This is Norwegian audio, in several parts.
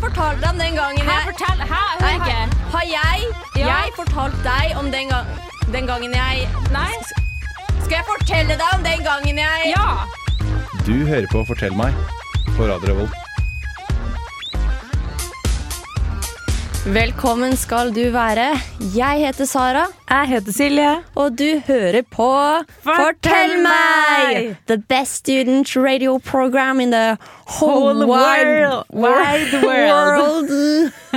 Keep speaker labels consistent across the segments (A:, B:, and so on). A: fortalte deg om den gangen
B: Hæ,
A: jeg
B: fortell! Hæ, hør
A: Nei,
B: ikke!
A: har, har jeg,
B: Ja.
A: jeg fortalt deg om den, gang, den gangen jeg
B: Nei?
A: Skal jeg fortelle deg om den gangen jeg
B: Ja!
C: Du hører på Fortell meg på Radio Revolt.
A: Velkommen skal du være. Jeg heter Sara,
D: Jeg heter Silje.
A: og du hører på
D: Fortell meg!
A: The best student radio program in the whole,
D: Whole
A: wide,
D: world. Wide world.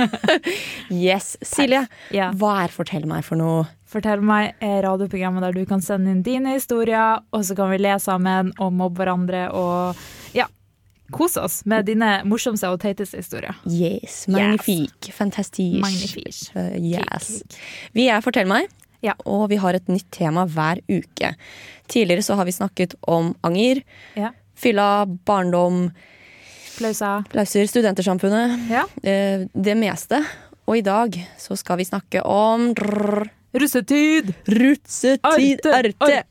A: world. yes. Silje,
D: Ja.
A: hva er Fortell meg for noe?
D: Fortell meg er radioprogrammet der du kan sende inn dine historier, og så kan vi le sammen og mobbe hverandre og ja, kose oss med dine morsomste og teiteste historier.
A: Yes. Magnifik. Fantastisk.
D: Magnifisk.
A: Eh, yes. Vi er Fortell meg,
D: Ja.
A: og vi har et nytt tema hver uke. Tidligere så har vi snakket om anger,
D: Ja.
A: fylla, barndom,
D: Applauser.
A: lauser, studentersamfunnet.
D: Ja.
A: eh, Det meste. Og i dag så skal vi snakke om drrr,
D: Russetid!
A: rutsetid, arte, arte,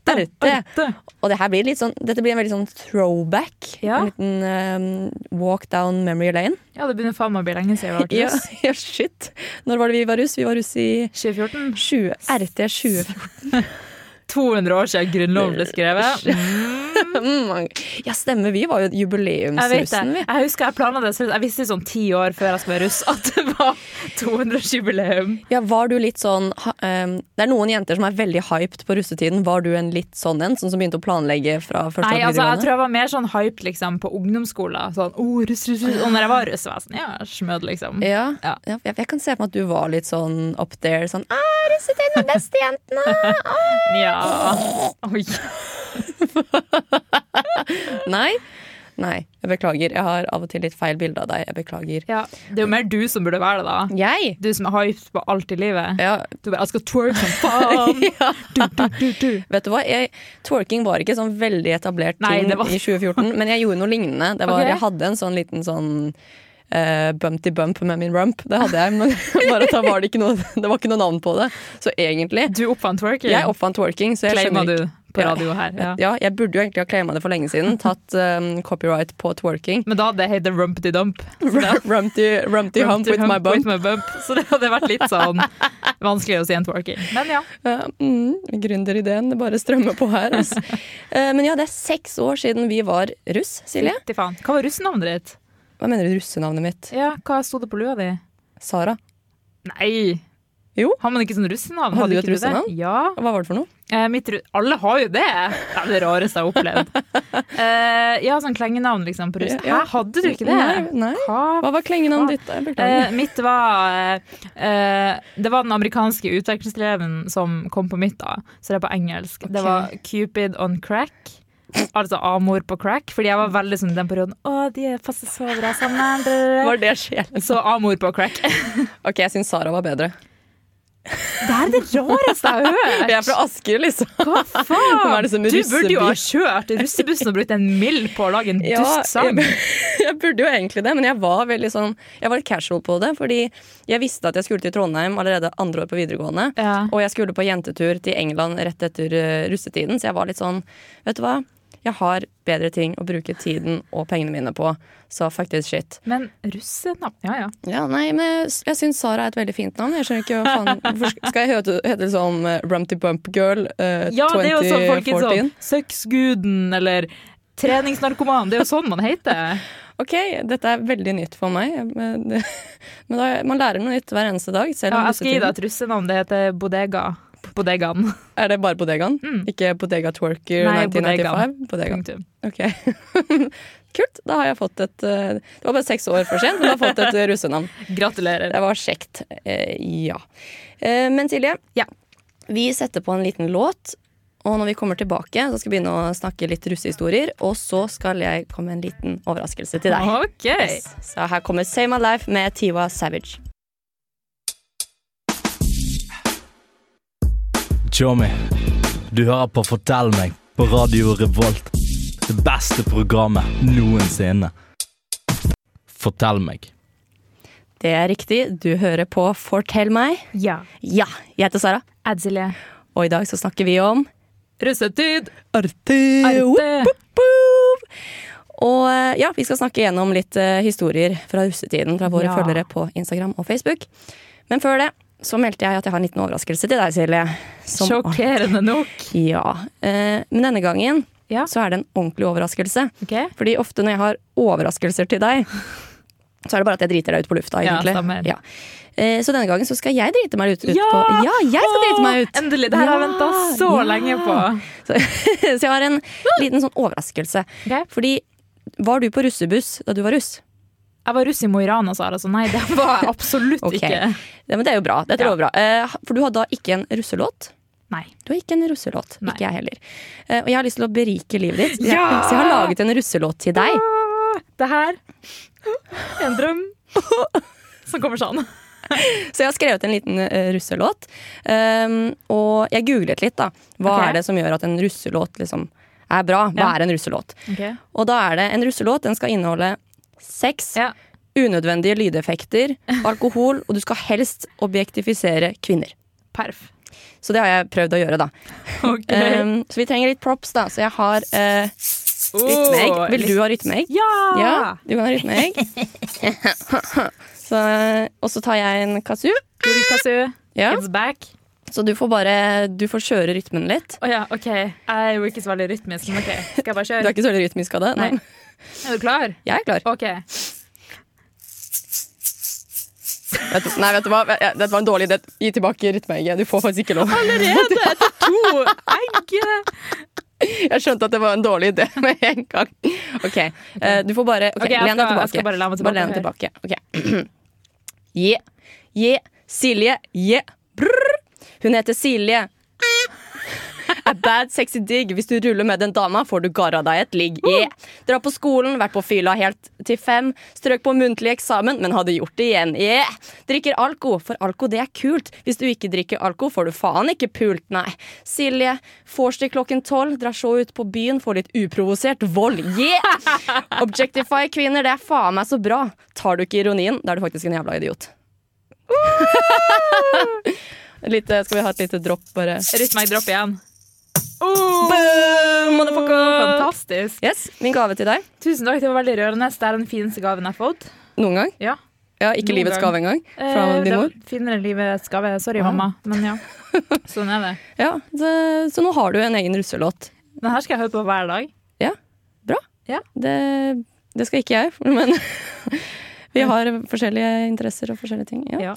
D: arte.
A: Og det her blir litt sånn, dette blir en veldig sånn throwback.
D: Ja.
A: En liten eh, walk down memory lane.
D: Ja, det begynner faen meg å bli lenge siden vi
A: Ja,
D: har vært russ.
A: ja, shit. Når var det vi var russ? Vi var russ i
D: 2014.
A: 20, RT 20.
D: 200 år siden Grunnloven ble skrevet.
A: Mm, Ja, stemmer. Vi var jo
D: Jeg vet
A: jubileumsrussen,
D: det.
A: vi.
D: Jeg husker jeg planla det. så Jeg visste sånn ti år før jeg skulle være russ at det var 200-årsjubileum.
A: Ja, var du litt sånn ha- um, Det er noen jenter som er veldig hyped på russetiden. Var du en litt sånn en? Sånn som begynte å planlegge fra første
D: Nei,
A: år til
D: altså, jeg
A: videregående?
D: tror jeg var mer sånn hyped liksom, på ungdomsskolen. Sånn, oh, russ, russ, russ. Og når jeg var russ, var jeg sånn, ja, smød, liksom.
A: ja.
D: Ja.
A: ja, jeg, jeg kan se for meg at du var litt sånn up there. Sånn ah, 'Russetiden er best, jentene!'
D: Ja. Oi.
A: Nei. Nei, jeg beklager. Jeg har av og til litt feil bilde av deg. Jeg beklager.
D: Ja. Det er jo mer du som burde være det, da.
A: Jeg?
D: Du som er hyped på alt i livet.
A: Ja,
D: Du bare, jeg skal twerk som faen! Du, du, du, du.
A: Vet du hva? Jeg, twerking var ikke sånn veldig etablert
D: Nei,
A: ting
D: det var-
A: i 2014, men jeg gjorde noe lignende. Det var,
D: Ok.
A: Jeg hadde en sånn liten sånn eh, bumpty bump med min rump. Det hadde jeg, men bare at da var det, ikke noe, det var ikke noe navn på det. Så egentlig
D: Du oppfant twerking.
A: Jeg oppfant twerking, så jeg
D: Claima
A: skjønner
D: du
A: ikke
D: på
A: Ja.
D: radio her. Ja.
A: ja, jeg burde jo egentlig ha claima det for lenge siden. Tatt eh, copyright på twerking.
D: Men da hadde det hett Rumpty Dump.
A: Rumpty, rumpty hump
D: Rumpty
A: with my bump.
D: my bump. Så det hadde vært litt sånn vanskelig å si en twerking. Men ja.
A: Ja, mm, Gründerideen, det bare strømmer på her. Altså. Eh, men ja, det er seks år siden vi var russ, Silje.
D: Fytti faen. Hva var russenavnet ditt?
A: Hva mener du russenavnet mitt?
D: Ja, hva sto det på lua di?
A: Sara.
D: Nei!
A: Jo.
D: Har man ikke sånn russenavn?
A: Hadde du et
D: ikke det?
A: russenavn?
D: Ja.
A: Hva var det for noe?
D: Eh, mitt ru Alle har jo det! Det er det rareste jeg har opplevd. eh, ja, sånn klengenavn liksom på russ.
A: Ja.
D: Hæ, hadde du ikke det?
A: Nei, nei.
D: Hva?
A: Hva var klengenavnet ditt? Jeg beklager.
D: Eh, mitt var eh, eh, Det var den amerikanske utvekslingseleven som kom på mitt, da. Så det er på engelsk. Det var Cupid on crack. Altså amor på crack. Fordi jeg var veldig sånn i den perioden Å, de passer så bra sammen.
A: var det sjelen?
D: Så amor på crack.
A: Ok, jeg syns Sara var bedre.
D: Det her er det rareste jeg har hørt!
A: Jeg er fra Asker, liksom.
D: Hva
A: Hvem er
D: faen?
A: det som
D: Du burde jo ha
A: russebuss?
D: kjørt russebussen og brukt en mill på å lage en
A: Ja,
D: dust sang.
A: jeg, jeg burde jo egentlig det, men jeg var veldig sånn Jeg var litt casual på det, fordi jeg visste at jeg skulle til Trondheim allerede andre år på videregående.
D: Ja.
A: Og jeg skulle på jentetur til England rett etter eh, russetiden, så jeg var litt sånn Vet du hva? Jeg har bedre ting å bruke tiden og pengene mine på, så fuck this shit.
D: Men russenavn Ja, ja.
A: Ja, nei, men jeg, jeg syns Sara er et veldig fint navn. Jeg skjønner ikke hva faen hvorfor sk- Skal jeg hete, hete sånn eh, Rumpty Bump Girl eh,
D: Ja, det er jo sånn folk er
A: 2014?
D: sånn Sexguden eller treningsnarkoman. Det er jo sånn man heter.
A: OK, dette er veldig nytt for meg. Men, det- men da, man lærer noe nytt hver eneste dag. Selv
D: Ja,
A: om
D: jeg skal gi deg
A: russetiden
D: et russenavn. Det heter Bodega. Bodegaen.
A: Er det bare bodegaen? Ikke Bodega Twerker
D: Mm. Nei, Mm.
A: 1995? Bodegaen.
D: Punktum.
A: Ok. Kult. Da har jeg fått et eh, Det var bare seks år for sent, men da har jeg fått et eh, russenavn.
D: Gratulerer.
A: Det var kjekt. Eh, ja. Eh, men Silje,
D: Ja.
A: vi setter på en liten låt. Og når vi kommer tilbake, så skal vi begynne å snakke litt russehistorier. Og så skal jeg komme med en liten overraskelse til deg.
D: OK.
A: Yes. Så her kommer Save My Life med Tiwa Savage.
E: Tjommi, du hører på Fortell meg på Radio Revolt. Det beste programmet noensinne. Fortell meg.
A: Det er riktig. Du hører på Fortell meg.
D: Ja.
A: Ja, jeg heter Sara,
D: Ed Silje.
A: og i dag så snakker vi om
D: Russetid.
A: Arte!
D: Arte.
A: Woop, woop. Og eh, ja, vi skal snakke gjennom litt eh, historier fra russetiden fra våre
D: Ja.
A: følgere på Instagram og Facebook. Men før det så meldte jeg at jeg har en liten overraskelse til deg, Silje. Som
D: Sjokkerende nok.
A: alt- Ja. Eh, Men denne gangen
D: Ja.
A: så er det en ordentlig overraskelse.
D: Ok?
A: Fordi ofte når jeg har overraskelser til deg, så er det bare at jeg driter deg ut på lufta,
D: Ja,
A: egentlig.
D: stemmer.
A: Eh, Så denne gangen så skal jeg drite meg ut, ut
D: Ja!
A: på Ja, jeg skal drite meg
D: Åh,
A: ut!
D: Endelig! Det her har jeg
A: Ja,
D: venta så
A: ja.
D: lenge på.
A: Så, så jeg har en liten sånn overraskelse.
D: Ok.
A: Fordi var du på russebuss da du var russ?
D: Jeg var russ i Mo i Rana, Sara, så nei, det var jeg absolutt
A: Ok.
D: ikke.
A: Ja, men det er jo bra. Dette
D: Ja.
A: lover bra. Eh, For du hadde da ikke en russelåt.
D: Nei.
A: Du har ikke en russelåt.
D: Nei.
A: Ikke jeg heller. Eh, Og jeg har lyst til å berike livet ditt,
D: Ja!
A: så jeg har laget en russelåt til deg.
D: Det her er en drøm som kommer sånn.
A: Så jeg har skrevet en liten eh, russelåt. Um, og jeg googlet litt, da. Hva
D: Ok.
A: er det som gjør at en russelåt liksom er bra? Hva
D: Ja.
A: er en russelåt? Og da er det en russelåt. Den skal inneholde sex,
D: Ja.
A: unødvendige lydeffekter, alkohol, og du skal helst objektifisere kvinner.
D: Perf. Ehm,
A: Så det har jeg prøvd å gjøre, da.
D: Ok.
A: Um, så vi trenger litt props, da. Så jeg har eh, rytmeegg.
D: Åh,
A: Vil du ha rytmeegg?
D: Ja!
A: Ja, du kan ha rytmeegg. Så, eh, og så tar jeg en kazoo.
D: Gurkasu,
A: Ja.
D: it's back.
A: Så du får bare Du får kjøre rytmen litt.
D: Å ja, OK. Jeg er jo ikke så veldig rytmisk, men OK. Skal jeg bare
A: Du er
D: kjøre?
A: ikke så veldig rytmisk av det? Nei.
D: Nei. Er du klar?
A: Jeg er klar.
D: OK.
A: Vet du, nei, vet du hva? Jeg- Dette var en dårlig idé. Gi tilbake rytmeegget. Du får faktisk ikke lov.
D: Allerede etter to egg!
A: Jeg skjønte at det var en dårlig idé med en gang. OK. eh, Du får bare ok,
D: Ok, jeg
A: Len deg
D: skal- jeg
A: tilbake.
D: skal bare lene meg tilbake.
A: lene deg tilbake. Ok. Je. Je. Silje. Je. Brrr. Hun heter Silje. A bad sexy digg. Hvis du ruller med den dama, får du garra deg et ligg. Je. Dra på skolen, vært på fyla helt til fem. Strøk på muntlig eksamen, men hadde gjort det igjen. Je. Drikker alko, for alko det er kult. Hvis du ikke drikker alko, får du faen ikke pult, nei. Silje. Vors til klokken tolv, drar så ut på byen, får litt uprovosert vold. Je. Objectify kvinner, det er faen meg så bra. Tar du ikke ironien, da er du faktisk en jævla idiot. Litt, eh, skal vi ha et lite dropp, bare?
D: Rytmeegg dropp igjen. Oh,
A: Boom, motherfucker!
D: fantastisk.
A: Yes, Min gave til deg.
D: Tusen takk, det var veldig rørende. Det er den fineste gaven jeg har fått.
A: Noen gang.
D: Ja.
A: Ja, Ikke
D: Noen
A: livets
D: gang.
A: gave engang. Fra
D: Eh,
A: din
D: det
A: mor.
D: var finere enn livets gave. Sorry, mamma. Men ja, sånn er det.
A: Ja, det, så nå har du en egen russelåt.
D: Den her skal jeg høre på hver dag.
A: Det, det skal ikke jeg, men vi har forskjellige interesser og forskjellige ting. Ja.
D: Ja.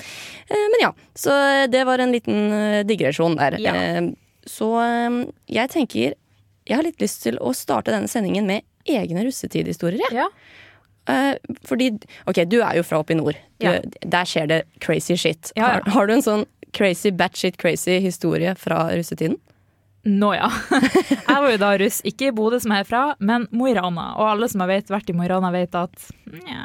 A: Eh, Men ja, så det var en liten eh, digresjon der.
D: Ja.
A: Eh, Så eh, jeg tenker Jeg har litt lyst til å starte denne sendingen med egne russetidhistorier. jeg.
D: Ja.
A: Eh, fordi OK, du er jo fra oppe i nord. Du,
D: Ja.
A: Der skjer det crazy shit.
D: Ja, ja.
A: Har, har du en sånn crazy batshit crazy historie fra russetiden?
D: Nå ja. Jeg var jo da russ, ikke i Bodø som jeg er fra, men Mo i Rana. Og alle som har vet, vært i Mo i Rana, vet at nja,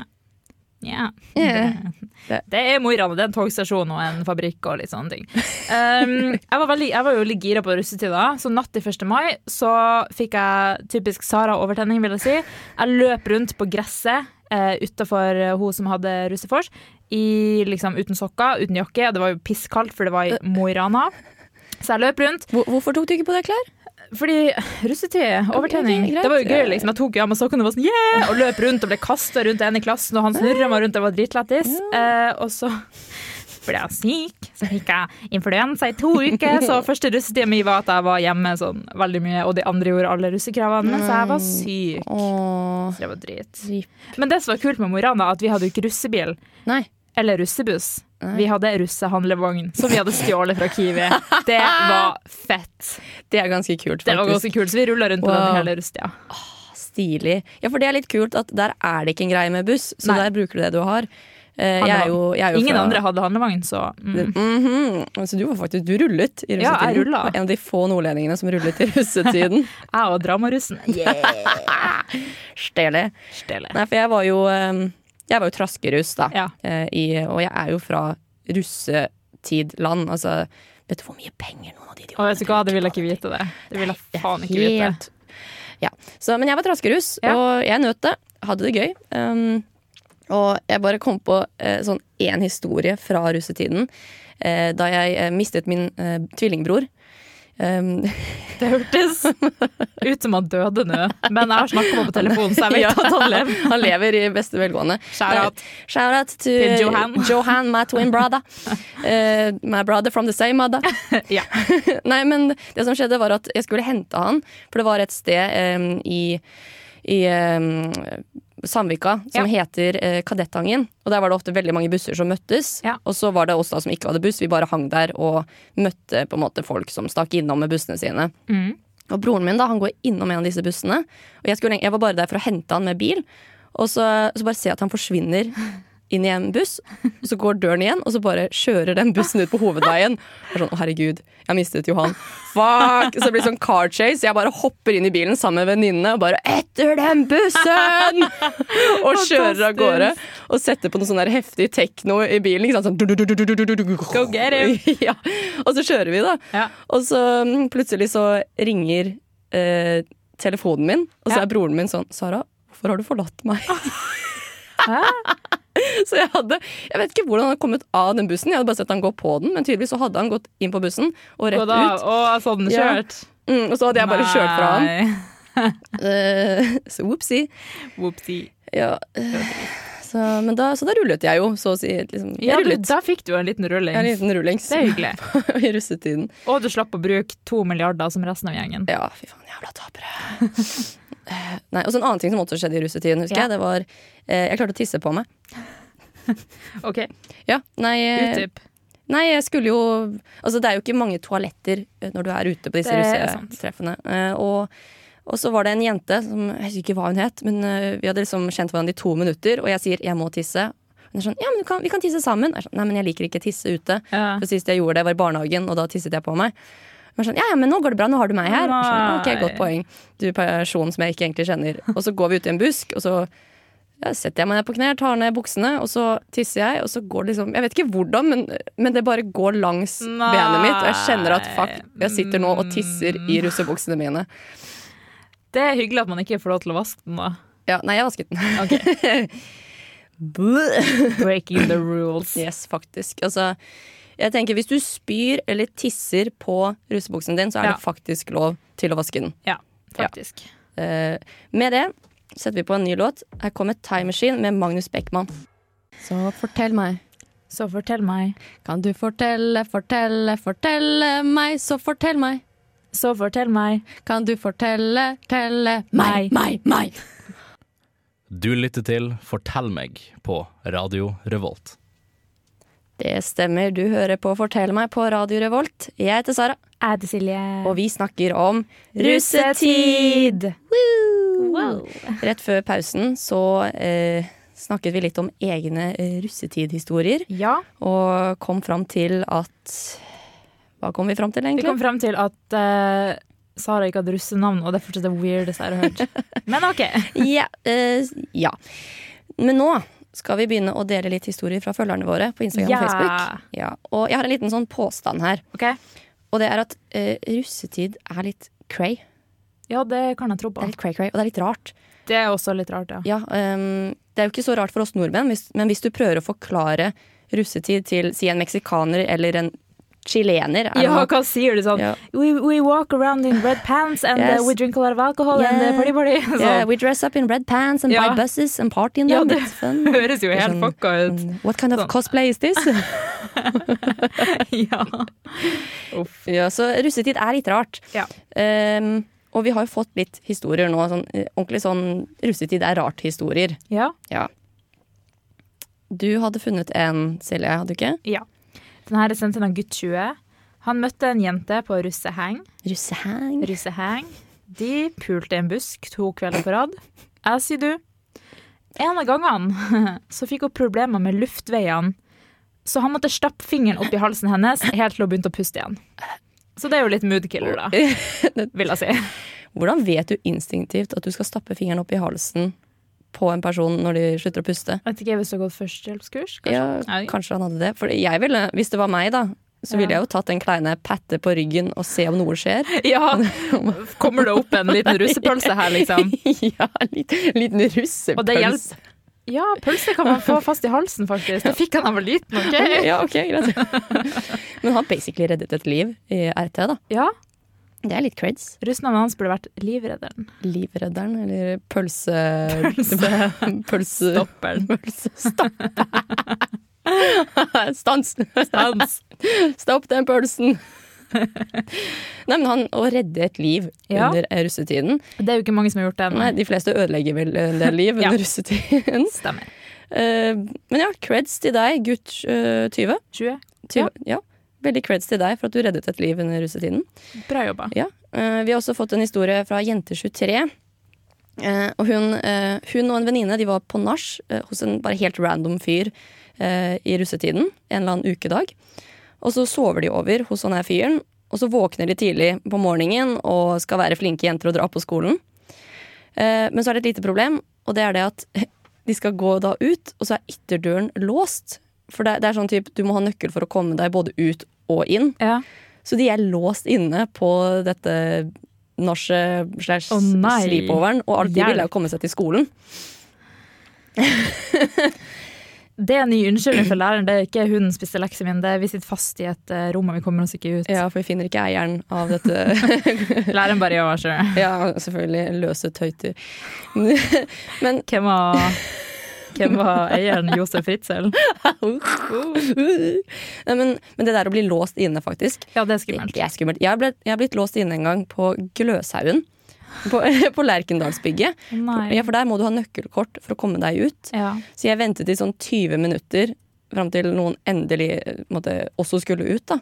D: nja. Det, det er Mo i Rana. Det er en togstasjon og en fabrikk og litt sånne ting. Um, jeg, var veldig, jeg var jo litt gira på russetida, så natt til 1. mai så fikk jeg typisk Sara-overtenning, vil jeg si. Jeg løp rundt på gresset uh, utafor hun som hadde russefors, i, liksom, uten sokker, uten jakke. Det var jo pisskaldt, for det var i Mo i Rana. Så jeg løp rundt.
A: Hvor, hvorfor tok du ikke på deg klær?
D: Fordi russetid, overtenning,
A: Ok, greit.
D: det var jo gøy. liksom Jeg tok jo av meg sokkene og var sånn yeah! Og løp rundt og ble kasta rundt en i klassen, og han snurra meg rundt og var dritlættis. Eh, og så ble jeg syk, så fikk jeg influensa i to uker. Så første russetida mi var at jeg var hjemme sånn veldig mye, og de andre gjorde alle russekravene, mens jeg var syk.
A: Åh,
D: Så det var drit.
A: Mm. Rip.
D: Men det som var kult med Mo i Rana, at vi hadde jo ikke russebil
A: Nei.
D: eller russebuss. Vi hadde russehandlevogn som vi hadde stjålet fra Kiwi. Det var fett.
A: Det er ganske kult, faktisk.
D: Det var ganske kult, så vi rulla rundt på
A: Wow.
D: den hele russetida.
A: Stilig. Ja, for det er litt kult at der er det ikke en greie med buss, så
D: Nei.
A: der bruker du det du har. Eh, Jeg er jo, jeg er jo
D: Ingen
A: fra,
D: andre hadde handlevogn, så mm.
A: Mhm. Så du var faktisk Du rullet i russetiden.
D: Ja, jeg rullet.
A: Du var En av de få nordlendingene som rullet i russetiden.
D: jeg og dramarussen
A: Stilig.
D: Stille.
A: Nei, for jeg var jo eh, Jeg var jo traskeruss, da.
D: Ja.
A: Eh, I, og jeg er jo fra russetidland. Altså, vet du hvor mye penger noen av de
D: Og
A: idiotene
D: vet du hva, det vil jeg
A: bruker på
D: ikke vite det. Det vil jeg faen ikke vite.
A: Helt. Ja. Så, men jeg var traskerus,
D: Ja.
A: og jeg nøt det. Hadde det gøy. Um, og jeg bare kom på eh, sånn én historie fra russetiden. eh, da jeg eh, mistet min eh, tvillingbror. Um,
D: Det hørtes ut som han døde nå, men jeg har snakka med ham på telefon, så jeg vet
A: Ja.
D: at han lever.
A: han lever i beste velgående.
D: Shout out.
A: Eh, shout out to
D: Til Johan.
A: Johan, my twin brother. Eh, my brother from the same mother.
D: Ja.
A: Nei, men det som skjedde var at jeg skulle hente han, for det var et sted em, i, i em, Sandvika som heter eh, Kadettangen. Og der var det ofte veldig mange busser som møttes.
D: Ja.
A: Og så var det oss da som ikke hadde buss, vi bare hang der og møtte på en måte folk som stakk innom med bussene sine.
D: Mm.
A: Og broren min da, han går innom en av disse bussene. Og jeg, skulle, jeg var bare der for å hente han med bil. Og så, så bare ser jeg at han forsvinner inn i en buss. Og så går døren igjen, og så bare kjører den bussen ut på hovedveien. Jeg er sånn, å herregud, jeg mistet Johan. Fuck! Så det blir sånn car chase. Jeg bare hopper inn i bilen sammen med venninnene og bare 'Etter den bussen!' Og kjører av gårde. Og setter på noe sånn der heftig tekno i bilen. Ikke sant? Sånn, Go
D: get him.
A: ja. Og så kjører vi, da.
D: Ja.
A: Og så mm, plutselig så ringer eh, telefonen min, og så
D: Ja.
A: er broren min sånn Sara, hvorfor har du forlatt meg?
D: Hæ?
A: så jeg hadde Jeg vet ikke hvordan han hadde kommet av den bussen, jeg hadde bare sett han gå på den, men tydeligvis så hadde han gått inn på bussen og
D: Og
A: rett
D: da,
A: ut.
D: å, sånn
A: Ja.
D: kjørt.
A: Mm, og så hadde jeg bare kjørt fra han.
D: Nei.
A: Eh, så whoopsie.
D: Whoopsie.
A: Ja. eh, Så, men da, så da rullet jeg jo, så å si. Liksom. Jeg
D: Ja, du,
A: rullet.
D: da fikk du en liten
A: Jeg er en
D: rullings.
A: liten rullings
D: Det er hyggelig.
A: i russetiden.
D: Og du slapp å bruke to milliarder som resten av gjengen.
A: Ja, fy faen, jævla tapere. Eh, Nei, og så En annen ting som også skjedde i russetiden, husker
D: Ja.
A: jeg, det var eh, Jeg klarte å tisse på meg.
D: OK,
A: Ja, nei, eh,
D: utdyp.
A: nei, jeg skulle jo Altså, det er jo ikke mange toaletter eh, når du er ute på disse
D: Det er sant.
A: russetreffene. Eh, og, og så var det en jente som Jeg husker ikke hva hun het, men eh, vi hadde liksom kjent hverandre i to minutter, og jeg sier 'jeg må tisse'. Hun er sånn 'ja, men du kan, vi kan tisse sammen'. Jeg er sånn, nei, men jeg liker ikke å tisse ute.
D: Ja.
A: For sist jeg gjorde det, var i barnehagen, og da tisset jeg på meg. Men sånn, ja, ja, men nå går det bra, nå har du meg her. Jeg Sånn, ok,
D: Nei.
A: godt poeng. Du personen som jeg ikke egentlig kjenner. Og så går vi ut i en busk, og så ja, setter jeg meg ned på knær, tar ned buksene, og så tisser jeg, og så går det liksom Jeg vet ikke hvordan, men, men det bare går langs
D: Nei.
A: benet mitt, og jeg kjenner at fuck, jeg sitter nå og tisser i russebuksene mine.
D: Det er hyggelig at man ikke får lov til å vaske den, da.
A: Ja, nei, jeg vasket den.
D: Ok.
A: Bleh.
D: Breaking the rules.
A: Yes, faktisk. Altså, jeg tenker hvis du spyr eller tisser på russebuksen din, så er
D: Ja.
A: det faktisk lov til å vaske den.
D: Ja, faktisk.
A: Eh, med det setter vi på en ny låt. Her kommer Time Machine med Magnus Beckmann. Så fortell meg.
D: Så fortell meg,
A: Kan du fortelle, fortelle, fortelle meg, så fortell meg.
D: så fortell meg.
A: Kan du fortelle, telle
D: Meg.
A: meg, meg.
E: Du lytter til Fortell meg på Radio Revolt.
A: Det stemmer, du hører på Fortell meg på Radio Revolt. Jeg heter Sara,
D: Jeg heter Silje.
A: og vi snakker om russetid. Woo! Rett før pausen så eh, snakket vi litt om egne eh, russetidhistorier.
D: Ja,
A: Og kom fram til at Hva kom vi fram til,
D: vi
A: egentlig?
D: kom frem til at eh, Sara ikke hadde russenavn, og det er fortsatt det weirdeste jeg har hørt. Men OK.
A: ja, eh, ja. Men nå skal vi begynne å dele litt historier fra følgerne våre på Instagram
D: Ja.
A: og Facebook. Ja, og jeg har en liten sånn påstand her.
D: ok.
A: Og det er at eh, russetid er litt cray.
D: Ja, det kan jeg tro
A: Det
D: på.
A: er litt cray-cray, og det er litt rart.
D: Det er også litt rart, ja.
A: Ja, ehm, det er jo ikke så rart for oss nordmenn, hvis- men hvis du prøver å forklare russetid til si en meksikaner eller en chilener er det
D: Ja,
A: noe-
D: hva sier du sånn?
A: Ja.
D: We, we walk around in red pants, and
A: Yes.
D: eh, we drink a lot of alcohol, and
A: Yeah.
D: eh, party, party. Sånn.
A: Yeah, we dress up in red pants and
D: Ja.
A: buy buses and party in
D: Ja,
A: them.
D: det-
A: It's fun.
D: Det høres jo
A: Det er
D: helt
A: sånn-
D: fucka ut.
A: Mm, What kind of
D: Sånn.
A: cosplay is this?
D: ja. Uff.
A: ja, så russetid er litt rart.
D: Ja.
A: Ehm, og vi har jo fått litt historier nå. Sånn, eh, ordentlig sånn russetid er rart-historier.
D: ja.
A: Ja. Du hadde funnet en, Silje, hadde du ikke?
D: Ja. Den her er sendt inn av gutt 20. Han møtte en jente på russeheng.
A: Russehang.
D: russeheng. De pulte i en busk to kvelder på rad. Jeg sier du. En av gangene så fikk hun problemer med luftveiene, så han måtte stappe fingeren opp i halsen hennes helt til hun begynte å puste igjen. Så det er jo litt moodkiller, da. Vil jeg si.
A: Hvordan vet du instinktivt at du skal stappe fingeren opp i halsen på en person når de slutter å puste?
D: Vet ikke hvis du har gått førstehjelpskurs, kanskje.
A: Ja,
D: Nei.
A: kanskje han hadde det. For jeg ville, hvis det var meg, da, så ville jeg jo tatt den kleine patte på ryggen og se om noe skjer.
D: Ja. Kommer det opp en liten russepølse her, liksom?
A: ja, litt, liten russepølse.
D: Og det hjelper. Ja, pølse kan man få fast i halsen, faktisk. Det fikk han da han var liten, OK?
A: Ja, ok, greit. Men han basically reddet et liv i RT, da.
D: Ja.
A: Det er litt creds.
D: Russnavnet hans burde vært Livredderen.
A: Livredderen, eller pølse...
D: Pølse-
A: Pølse... Pølsestopp. Stans.
D: Stans.
A: Stopp den pølsen. Nei, men han å redde et liv
D: Ja.
A: under eh, russetiden
D: Det er jo ikke mange som har gjort det
A: Nei,
D: ennå.
A: de fleste ødelegger vel en del liv
D: Ja.
A: under russetiden.
D: Stemmer.
A: Eh, men ja, creds til deg, gutt eh, 20.
D: 20.
A: 20 ja. Veldig creds til deg for at du reddet et liv under russetiden.
D: Bra jobba.
A: Ja. Eh, vi har også fått en historie fra Jente23. Eh, og hun, eh, hun og en venninne de var på nach eh, hos en bare helt random fyr eh, i russetiden. En eller annen ukedag. Og så sover de over hos han her fyren. Og så våkner de tidlig på morgenen og skal være flinke jenter og dra på skolen. Eh, men så er det et lite problem, og det er det at de skal gå da ut, og så er ytterdøren låst. For det, det er sånn typ, du må ha nøkkel for å komme deg både ut og inn.
D: Ja.
A: Så de er låst inne på dette nachet slash
D: Å, nei.
A: sleepoveren, og alt de vil, er
D: Hjelp.
A: å komme seg til skolen.
D: Det er en ny unnskyldning for læreren. Det er ikke hun spiste lekser min, det er vi sitter fast i et eh, rom og vi kommer oss ikke ut.
A: Ja, for vi finner ikke eieren av dette.
D: Læreren bare ja, sure.
A: ja, selvfølgelig løse tøyter. Men
D: Hvem var, hvem var eieren? Josef Fritzel?
A: Nei, men, men det der å bli låst inne, faktisk,
D: Ja, det er
A: det,
D: skummelt.
A: det er skummelt. Jeg har, blitt, jeg har blitt låst inne en gang på Gløshaugen. På, på Lerkendalsbygget.
D: Nei.
A: Ja, for der må du ha nøkkelkort for å komme deg ut.
D: Ja.
A: Så jeg ventet i sånn 20 minutter fram til noen endelig eh, på en måte, også skulle ut. da.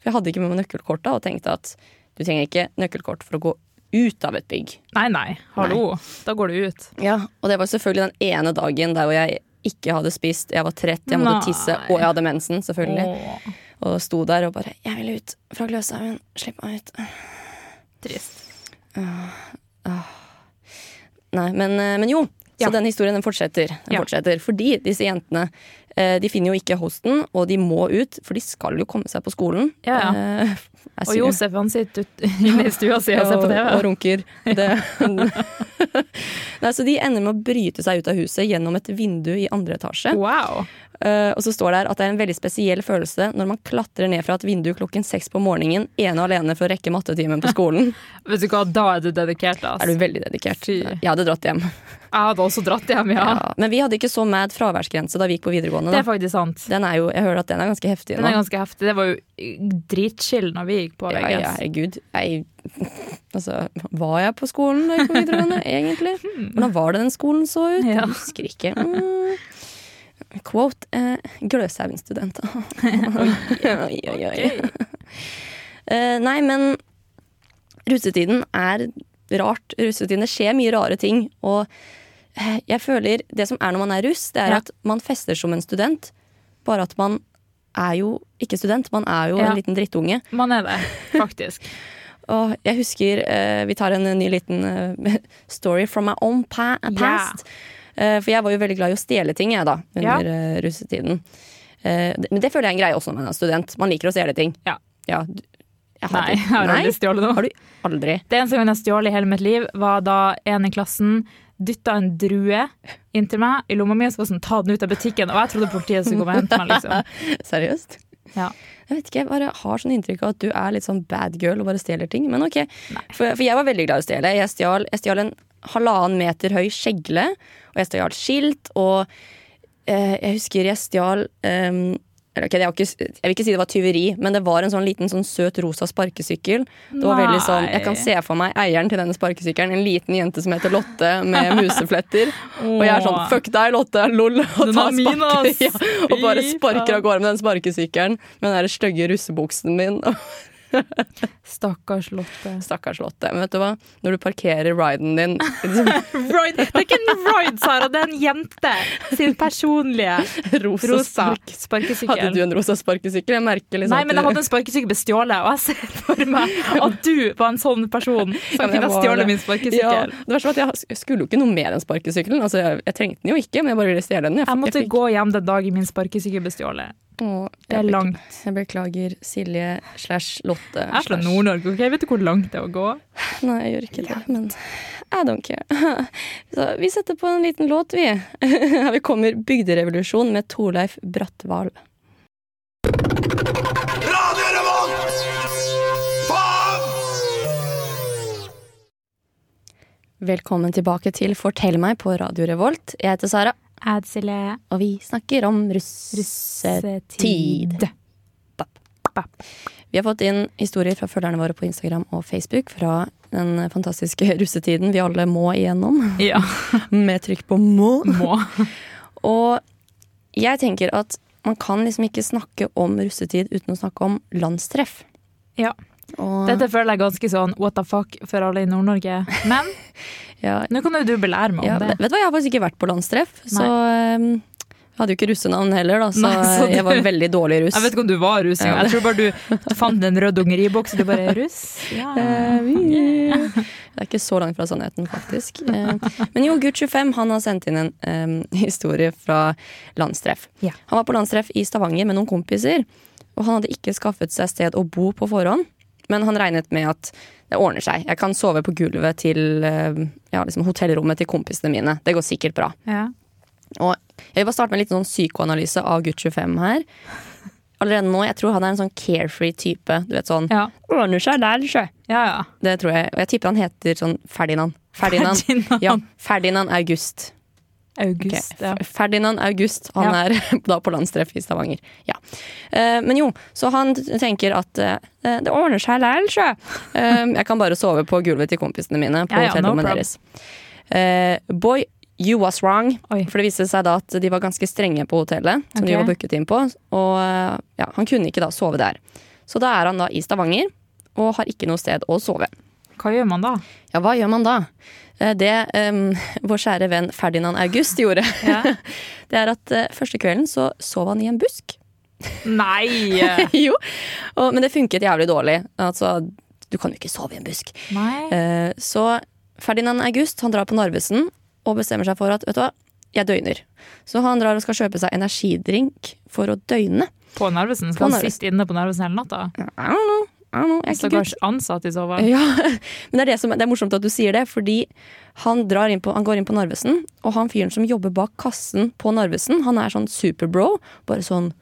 A: For jeg hadde ikke med meg nøkkelkortet og tenkte at du trenger ikke nøkkelkort for å gå ut av et bygg.
D: Nei, nei. Hallo. Da går du ut.
A: Og det var selvfølgelig den ene dagen der hvor jeg ikke hadde spist, jeg var trett, jeg måtte
D: Nei.
A: tisse, og jeg hadde mensen, selvfølgelig.
D: Åh,
A: Og sto der og bare 'Jeg vil ut fra Gløshaugen. Slipp meg ut'.
D: trist.
A: Nei, men, eh, men jo. Så
D: Ja.
A: denne historien den fortsetter. Den
D: Ja.
A: fortsetter. Fordi disse jentene eh, de finner jo ikke hosten, og de må ut, for de skal jo komme seg på skolen.
D: Ja,
A: Eh, jeg
D: Og
A: sier-
D: Josef han sitter ut- inne i stua si og ser
A: og,
D: på
A: og
D: TV.
A: runker. Det. Nei, så de ender med å bryte seg ut av huset gjennom et vindu i andre etasje.
D: Wow.
A: Eh, og så står det her at det er en veldig spesiell følelse når man klatrer ned fra et vindu klokken seks på morgenen ene og alene for å rekke mattetimen på skolen.
D: Vet du hva, da er du dedikert, ass.
A: Er du veldig dedikert?
D: Fy.
A: Jeg hadde dratt hjem.
D: Jeg hadde også dratt hjem, ja.
A: Ja. Men vi hadde ikke så mad fraværsgrense da vi gikk på videregående.
D: Det
A: Da.
D: er faktisk sant.
A: Den er jo, jeg hører at den er ganske heftig
D: Den
A: nå.
D: er ganske heftig. Det var jo dritchill når vi gikk på
A: Ja, ja,
D: VGS.
A: herregud. Jeg, altså, var jeg på skolen da jeg gikk på videregående, egentlig? Hvordan var det den skolen så ut?
D: Hmm. Ja.
A: Jeg husker ikke. Mm. Quote eh, Gløshaugen-student. oi, oi, oi. Eh, nei, men russetiden er rart. Russetiden, det skjer mye rare ting. Og eh, jeg føler det som er når man er russ, det er
D: Ja.
A: at man fester som en student. Bare at man er jo ikke student, man er jo
D: Ja.
A: en liten drittunge.
D: Man er det, faktisk.
A: Og jeg husker eh, Vi tar en ny liten eh, story from my own pa past. Eh, for jeg var jo veldig glad i å stjele ting, jeg, da,
D: Ja.
A: under eh, russetiden. Eh, det- men det føler jeg er en greie også når man er student. Man liker å stjele ting.
D: Ja.
A: du, jeg har
D: Nei, jeg
A: det.
D: har
A: Nei,
D: aldri stjålet noe.
A: har du aldri.
D: Det eneste gangen jeg stjal i hele mitt liv, var da en i klassen dytta en drue inntil meg i lomma mi og så var det sånn, ta den ut av butikken. Og jeg trodde politiet skulle komme og hente meg, liksom.
A: Seriøst?
D: Ja.
A: Jeg vet ikke, jeg bare har sånn inntrykk av at du er litt sånn bad girl og bare stjeler ting. Men ok, for, for jeg var veldig glad i å stjele. Jeg stjal, jeg stjal en halvannen meter høy skjegle, og jeg stjal skilt, og eh, jeg husker jeg stjal ehm, eller ok, det var ikke, jeg vil ikke si det var tyveri, men det var en sånn liten sånn søt rosa sparkesykkel. Det var veldig sånn, Jeg kan
D: Nei.
A: se for meg eieren til denne sparkesykkelen, en liten jente som heter Lotte med musefletter. Og jeg er sånn
D: Åh.
A: fuck deg, Lotte, lol. Og,
D: Den
A: tar
D: er min,
A: sparke-
D: ass.
A: ja, og bare
D: Fy
A: sparker
D: faen.
A: av gårde med den sparkesykkelen med den der stygge russebuksen min.
D: Stakkars Lotte.
A: Stakkars Lotte. Men vet du hva? Når du parkerer riden din liksom,
D: Ride. Det er ikke en ride, Sara, det er en jente sin personlige
A: rosa,
D: rosa
A: spark- Hadde du
D: sparkesykkel.
A: en rosa sparkesykkel? Jeg merker liksom
D: Nei, men jeg
A: at du-
D: hadde en sparkesykkel bestjålet, og jeg ser for meg at du var en sånn
A: Ja,
D: person
A: men
D: som
A: jeg
D: kunne
A: var
D: stjålet
A: det.
D: min
A: ja,
D: sparkesykkel.
A: det verste var at jeg skulle jo ikke noe med den sparkesykkelen. Altså, jeg, jeg trengte den jo ikke, men jeg bare ville stjele den.
D: Jeg måtte
A: fikk-
D: gå hjem den dagen min sparkesykkel ble stjålet.
A: Åh,
D: Det er
A: jeg
D: langt.
A: bekl- Jeg beklager Silje slash Lotte.
D: Jeg er fra
A: slash-
D: Nord-Norge, ok? Vet du hvor langt det er å gå?
A: Nei, jeg gjør ikke det, men I don't care. Så vi setter på en liten låt, vi. Her vi kommer Bygderevolusjon med Torleif Bratval.
B: Radio Revolt! Faen!
A: Velkommen tilbake til Fortell meg på Radio Revolt. Jeg heter Sara,
D: Edsile
A: og vi snakker om russetid.
D: russetid.
A: Vi har fått inn historier fra følgerne våre på Instagram og Facebook fra den fantastiske russetiden vi alle må igjennom,
D: Ja,
A: med trykk på må.
D: må.
A: Og jeg tenker at man kan liksom ikke snakke om russetid uten å snakke om landstreff.
D: Ja.
A: Og,
D: Dette føler jeg ganske sånn what the fuck for alle i Nord-Norge. Men
A: ja,
D: nå kan jo du belære meg
A: ja,
D: om det.
A: vet vet du hva, jeg har faktisk ikke vært på landstreff, så um, jeg hadde jo ikke russenavn heller, da, så,
D: Nei, så du-
A: jeg var veldig dårlig i russ.
D: Jeg vet ikke om du var russ engang. Jeg tror bare du fant en rød dungeriboks og du bare russ. Ja.
A: Eh, vi- Det er ikke så langt fra sannheten, faktisk. Eh, Men jo, Gutt25 han har sendt inn en eh, historie fra landstreff.
D: Ja.
A: Han var på landstreff i Stavanger med noen kompiser, og han hadde ikke skaffet seg sted å bo på forhånd. Men han regnet med at det ordner seg. Jeg kan sove på gulvet til eh, ja, liksom hotellrommet til kompisene mine. Det går sikkert bra.
D: Ja.
A: Og jeg vil bare starte med en liten sånn psykoanalyse av Gutt25 her. Allerede nå, jeg tror han er en sånn carefree type. Du vet sånn
D: Ja.
A: Ordner seg, lærer seg.
D: Ja, ja.
A: Det tror jeg. Og jeg tipper han heter sånn Ferdinand. Ferdinand,
D: Ferdinand
A: ja, Ferdinand August. Ok,
D: August, ja.
A: F- Ferdinand August. Han
D: Ja.
A: er da på landstreff i Stavanger. Ja. Eh, men jo, så han t- tenker at eh, det ordner seg lærer seg. Eh, jeg kan bare sove på gulvet til kompisene mine på
D: Ja, ja, no
A: hotellrommet
D: problem.
A: deres. Eh, boy, you was wrong.
D: Oi.
A: For det viste seg da at de var ganske strenge på hotellet som de
D: Ok.
A: var booket inn på. Og eh, ja, han kunne ikke da sove der. Så da er han da i Stavanger og har ikke noe sted å sove.
D: Hva gjør man da?
A: Ja, hva gjør man da? Eh, Det em, vår kjære venn Ferdinand August gjorde,
D: Ja.
A: det er at eh, første kvelden så sov han i en busk.
D: Nei!
A: jo, og, Men det funket jævlig dårlig. Altså, du kan jo ikke sove i en busk.
D: Nei.
A: Eh, så Ferdinand August han drar på Narvesen og bestemmer seg for at vet du hva, jeg døgner. Så han drar og skal kjøpe seg energidrink for å døgne.
D: På Narvesen?
A: På
D: Skal han
A: Narvesen.
D: sitte inne på Narvesen hele natta?
A: I don't know. I don't know. Jeg er ikke gutt.
D: Stakkars ansatt i sovehallen.
A: Ja, men det er, det, som, det er morsomt at du sier det, fordi han, drar inn på, han går inn på Narvesen, og han fyren som jobber bak kassen på Narvesen, han er sånn superbro. Bare sånn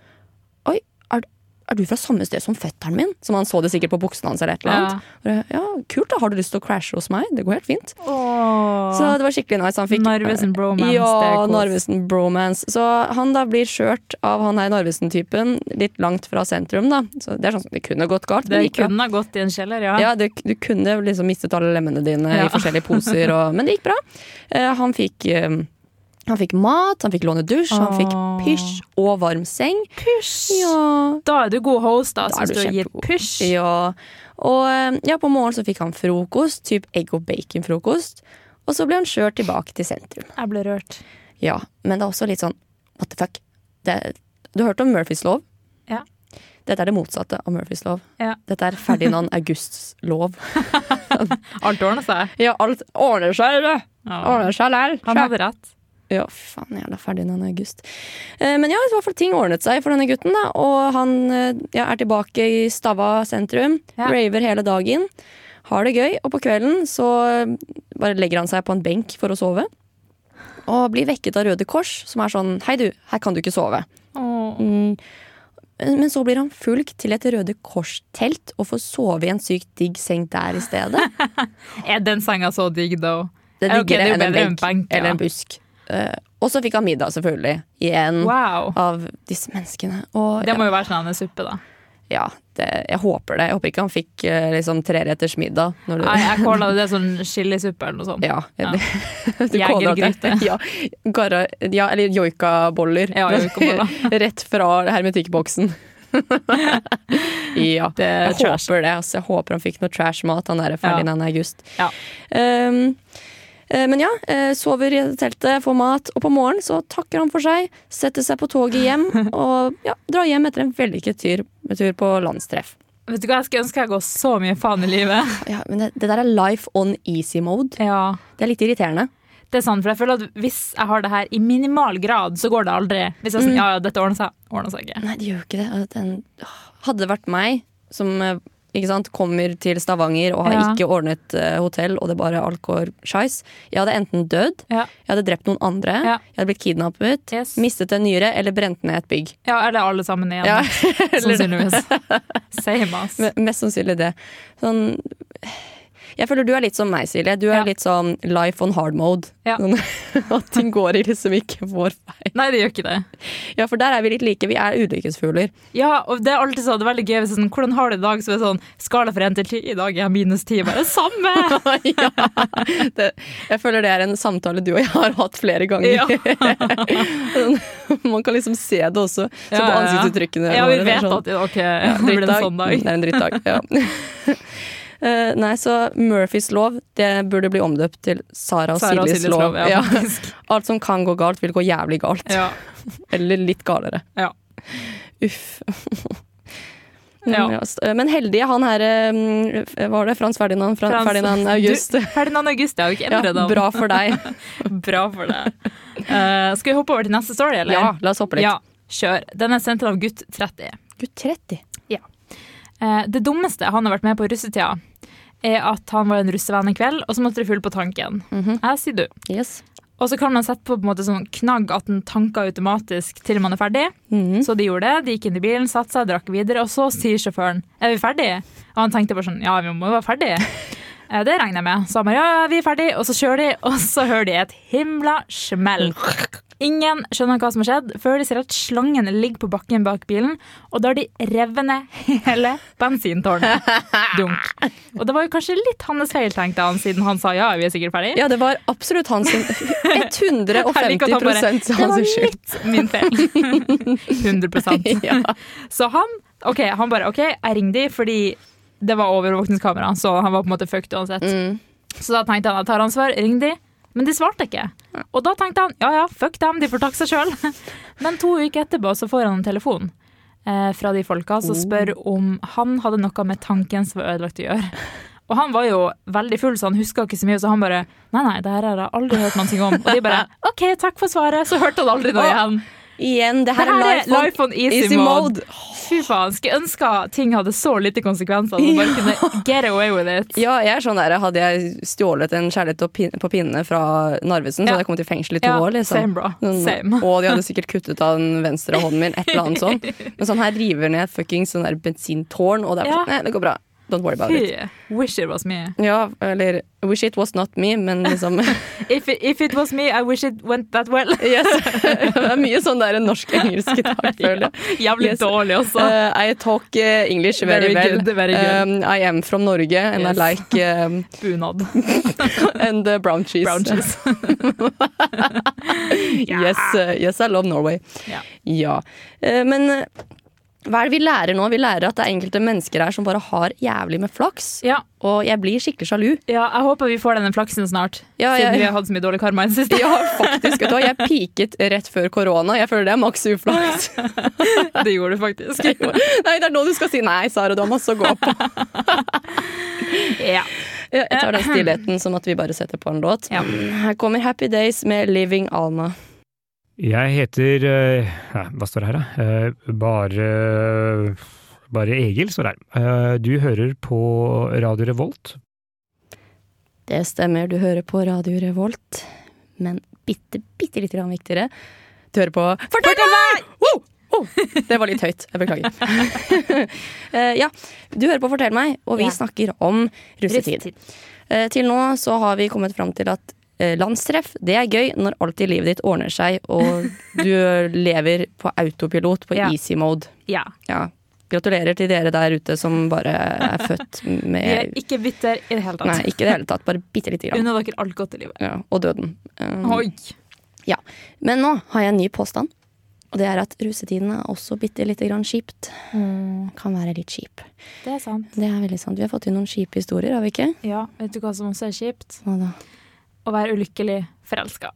A: Oi, er, er du fra samme sted som fetteren min? Som han så det sikkert på buksene hans eller et eller annet. Og det, Ja, kult, da. Har du lyst til å crashe hos meg? Det går helt fint.
D: Åh.
A: Så det var skikkelig nice. Han fikk
D: Narvesen bromance, det er
A: Ja,
D: kos.
A: Narvesen bromance. Så han da blir kjørt av han her Narvesen-typen litt langt fra sentrum, da. Så det er sånn som det kunne gått galt.
D: det
A: men gikk bra.
D: kunne ha gått i en kjeller, ja.
A: Ja, du, du kunne liksom mistet alle lemmene dine
D: Ja.
A: i forskjellige poser, og, men det gikk bra. Eh, han fikk eh, han fikk mat, han fikk låne dusj, han fikk
D: Åh.
A: pysj og varm seng.
D: Pysj!
A: Ja,
D: Da er du god host, da,
A: Da er
D: syns du
A: du
D: har gitt
A: kjempegod.
D: pysj.
A: ja. Og eh, ja, på morgenen så fikk han frokost, typ egg og bacon-frokost. Og så ble han kjørt tilbake til sentrum.
D: Jeg ble rørt.
A: Ja, Men det er også litt sånn what the fuck. Det, du hørte om Murphys lov?
D: Ja.
A: Dette er det motsatte av Murphys lov.
D: Ja.
A: Dette er Ferdinand Augusts lov.
D: Alt ordna seg.
A: Ja, alt ordner seg, du!
D: Ja.
A: Ordner seg lær.
D: Han hadde rett.
A: Ja, faen, jævla Ferdinand August. Eh, Men ja, i hvert fall ting ordnet seg for denne gutten, da. Og han eh, ja, er tilbake i Stava sentrum.
D: Ja.
A: Raver hele dagen. Har det gøy. Og på kvelden så eh, bare legger han seg på en benk for å sove. Og blir vekket av Røde Kors, som er sånn Hei, du, her kan du ikke sove.
D: Åh.
A: Mm. Men så blir han fulgt til et Røde Kors-telt og får sove i en sykt digg seng der i stedet.
D: Er den senga så digg, da?
A: Det
D: Ja, ok,
A: digger
D: det er jo
A: enn en
D: bedre enn
A: benk,
D: benk, ja.
A: eller en busk. Eh, og så fikk han middag, selvfølgelig. Igjen.
D: Wow.
A: Av disse menneskene. Og,
D: Det
A: ja,
D: må jo være sånn en suppe, da.
A: ja det, jeg håper det. Jeg håper ikke han fikk eh, liksom treretters middag. Når du,
D: Nei, jeg kåla det sånn chilisuppe eller noe sånt.
A: ja,
D: Ja.
A: du caller det-
D: Jegergryte.
A: Ja, gara, ja, eller joikaboller.
D: Ja, joikaboller.
A: Rett fra hermetikkboksen. ja.
D: Det er
A: Jeg
D: trash.
A: håper det. Altså, jeg håper han fikk noe trash-mat, han der Ferdinand August.
D: Ja.
A: Um, eh, men ja, eh, sover i teltet, får mat, og på morgenen så takker han for seg, setter seg på toget hjem og ja, drar hjem etter en vellykket tur, tur på landstreff.
D: Vet du hva, jeg skulle ønske jeg ga så mye faen i livet.
A: Ja, men det, det der er life on easy mode.
D: Ja.
A: Det er litt irriterende.
D: Det er sant, for jeg føler at hvis jeg har det her i minimal grad, så går det aldri. Hvis jeg er sånn,
A: Mm.
D: ja, ja, dette ordner seg, ordner seg ikke.
A: Nei, det gjør jo ikke det. At den- Hadde det vært meg som eh, ikke sant, kommer til Stavanger og har
D: Ja.
A: ikke ordnet eh, hotell, og det bare alt går skeis, jeg hadde enten dødd,
D: Ja.
A: jeg hadde drept noen andre,
D: Ja.
A: jeg hadde blitt kidnappet,
D: Yes.
A: mistet en nyre eller brent ned et bygg.
D: Ja, eller alle sammen igjen,
A: Ja.
D: sannsynligvis. Same ass.
A: Me- Mest sannsynlig det. Sånn Jeg føler du er litt som meg, Silje. Du er
D: Ja.
A: litt sånn life on hard mode.
D: Ja.
A: Sånn, at ting går i liksom ikke vår vei.
D: Nei, det gjør ikke det.
A: Ja, for der er vi litt like. Vi er ulykkesfugler.
D: Ja, og det er alltid sånn, det er veldig gøy hvis det er sånn, hvordan har du det i dag? Så er det sånn, skala fra 1 til 10, i dag er jeg minus 10, bare samme!
A: ja. det, jeg føler det er en samtale du og jeg har hatt flere ganger.
D: Ja.
A: Man kan liksom se det også. Så
D: Ja,
A: på
D: ja, ja.
A: ansiktsuttrykkene.
D: Ja, vi
A: våre, det er
D: vet
A: sånn,
D: at, ok, det blir en
A: drittdag.
D: sånn dag.
A: Det er en drittdag, ja. Eh, nei, så Murphys lov det burde bli omdøpt til Sara og
D: Sara og
A: Siljes lov.
D: ja,
A: Ja.
D: faktisk.
A: Alt som kan gå galt, vil gå jævlig galt.
D: Ja.
A: Eller litt galere.
D: Ja.
A: Uff.
D: Ja.
A: Ja, s- Men heldige, han her eh, f- Var det Frans Ferdinand? Fra,
D: Frans-
A: Ferdinand August.
D: Du, Ferdinand August, jeg har jo ikke
A: Ja,
D: endret det.
A: bra for deg.
D: Bra for det. Eh, skal vi hoppe over til neste story, eller?
A: Ja, la oss hoppe litt.
D: Ja, kjør. Den er sendt til av gutt 30.
A: Gutt 30.
D: Eh, det dummeste han har vært med på i russetida, er at han var en russevenn en kveld, og så måtte det full på tanken. Jeg sier du.
A: Yes.
D: Og så kan man sette på, på en måte sånn knagg at den tanker automatisk til man er ferdig.
A: Mhm.
D: Så de gjorde det. De gikk inn i bilen, satte seg, drakk videre, og så sier sjåføren er vi ferdige? Og han tenkte bare sånn ja, vi må være ferdige. Eh, Det regner jeg med. Så han bare ja, ja, vi er ferdige. Og så kjører de, og så hører de et himla smell. Ingen skjønner hva som har skjedd, før de ser at slangen ligger på bakken bak bilen, og da har de revet ned hele bensintårnet. Dunk. Og det var jo kanskje litt hans feil, tenkte han, siden han sa ja, vi er sikkert ferdige.
A: Ja, det var absolutt hans sin- 150
D: Jeg liker at han bare,
A: hans skyld.
D: Det var litt min feil. 100
A: Ja.
D: Så han, ok, han bare OK, jeg ringer de fordi det var overvåkningskamera, så han var på en måte fucked uansett.
A: Mm.
D: Så da tenkte han jeg tar ansvar, ring de. Men de svarte ikke. Og da tenkte han ja ja, fuck dem, de får takke seg sjøl. Men to uker etterpå så får han en telefon eh, fra de folka
A: Oh.
D: som spør om han hadde noe med tanken som var ødelagt å gjøre. Og han var jo veldig full, så han huska ikke så mye. Så han bare nei, nei, det her har jeg aldri hørt noe om. Og de bare OK, takk for svaret. Så hørte han aldri noe
A: Å,
D: igjen.
A: Igjen, det
D: Det
A: her er life on
D: easy,
A: easy
D: mode.
A: mode.
D: Fy faen, skulle ønske ting hadde så lite konsekvenser. At man bare kunne get away with it.
A: Ja, jeg er sånn der, Hadde jeg stjålet en kjærlighet på pin- på pinne fra Narvesen, så
D: Ja.
A: hadde jeg kommet i fengsel i to
D: Ja,
A: år. Liksom.
D: same, bro.
A: Sånn,
D: Same.
A: Og de hadde sikkert kuttet av den venstre hånden min, et eller annet sånt. Men sånn her river ned fuckings sånn der bensintårn, og det er
D: Ja.
A: bare sånn Nei, det går bra. Don't worry about it.
D: Fy, wish it was me.
A: Ja, eller Wish it was not me, men liksom
D: If it, if it was me, I wish it went that well.
A: Yes. Det er mye sånn der norsk-engelsk i dag, føler jeg.
D: Jævlig
A: Yes.
D: dårlig også.
A: Uh, I talk uh, English very,
D: Eh, Very
A: well.
D: good, very good.
A: Um, I am from Norge, and
D: Yes.
A: I like um,
D: Bunad.
A: and uh, brown cheese.
D: Brown cheese.
A: Yes, uh, yes, I love Norway.
D: Ja.
A: Ja. Eh, men eh, hva er det vi lærer nå? Vi lærer at det er enkelte mennesker her som bare har jævlig med flaks.
D: Ja,
A: Og jeg blir skikkelig sjalu.
D: ja, jeg håper vi får denne flaksen snart,
A: Ja,
D: siden
A: ja,
D: vi
A: ja.
D: har hatt så mye dårlig karma i det siste.
A: Ja, faktisk. Vet du hva, jeg peaket rett før korona. Jeg føler det er maks uflaks.
D: Det gjorde du faktisk.
A: Nei, det er nå du skal si nei, Sara. Du har masse å gå på.
D: Ja.
A: Ja, Jeg tar den stillheten som at vi bare setter på en låt.
D: Ja.
A: Her kommer Happy Days med Living Alma.
B: Jeg heter eh, ja, Hva står det her, da? Eh, Bare Bare Egil står det her. Eh, Du hører på Radio Revolt.
A: Det stemmer, du hører på Radio Revolt. Men bitte, bitte litt grann viktigere. Du hører på Fortell, meg! Wow! Oh, det var litt høyt. Jeg beklager. Eh, ja, du hører på Fortell meg, og vi
D: Ja.
A: snakker om russetid. Eh, til nå så har vi kommet fram til at eh, landstreff, det er gøy når alt i livet ditt ordner seg, og du lever på autopilot, på
D: Ja.
A: easy mode.
D: Ja.
A: Ja. Gratulerer til dere der ute som bare er født
D: Vi er
A: med
D: ikke bitter i det hele
A: Nei,
D: tatt.
A: ikke i det hele tatt. Bare bitte lite grann.
D: Unna dere alt godt i livet.
A: Ja, og døden. Um,
D: Oi.
A: ja. Men nå har jeg en ny påstand. Og det er at rusetiden er også bitte lite grann kjipt.
D: Mm,
A: Kan være litt kjip.
D: Det er sant.
A: Det er veldig sant. Vi har fått inn noen kjipe historier, har vi ikke?
D: Ja, vet du hva som også er kjipt?
A: Hva da?
D: Å være ulykkelig forelska.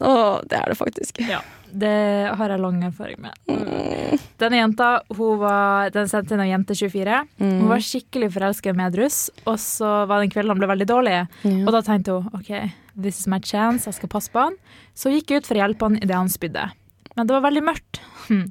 A: Å, det er det faktisk.
D: Ja, det har jeg lang erfaring med. Denne jenta hun var, den sendte inn av Jente 24. Hun var skikkelig forelska i medrus, og så var det en kveld han ble veldig dårlig. Og da tenkte hun OK, this is my chance, jeg skal passe på han. Så hun gikk ut for å hjelpe han idet han spydde. Men det var veldig mørkt, Hm.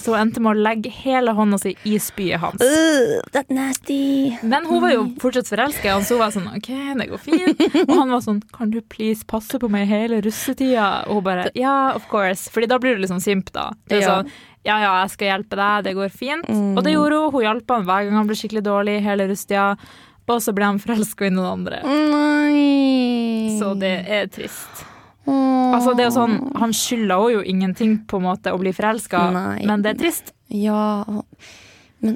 D: så hun endte med å legge hele hånda si i spyet hans.
A: Øh, that's nasty.
D: Men hun var jo
A: Mm.
D: fortsatt forelska i han, så hun var sånn OK, det går fint. Og han var sånn Kan du please passe på meg hele russetida? Og hun bare Ja, of course. Fordi da blir du liksom simp, da. Det er
A: Ja. Mm.
D: sånn ja, ja, jeg skal hjelpe deg, det går fint. Og det gjorde hun. Hun hjalp han hver gang han ble skikkelig dårlig hele russetida. og så blir han forelska i noen andre.
A: Nei.
D: Så det er trist. Altså det er jo sånn, Han skylder henne jo ingenting på en måte å bli forelska,
A: Nei.
D: men det er trist.
A: Ja, men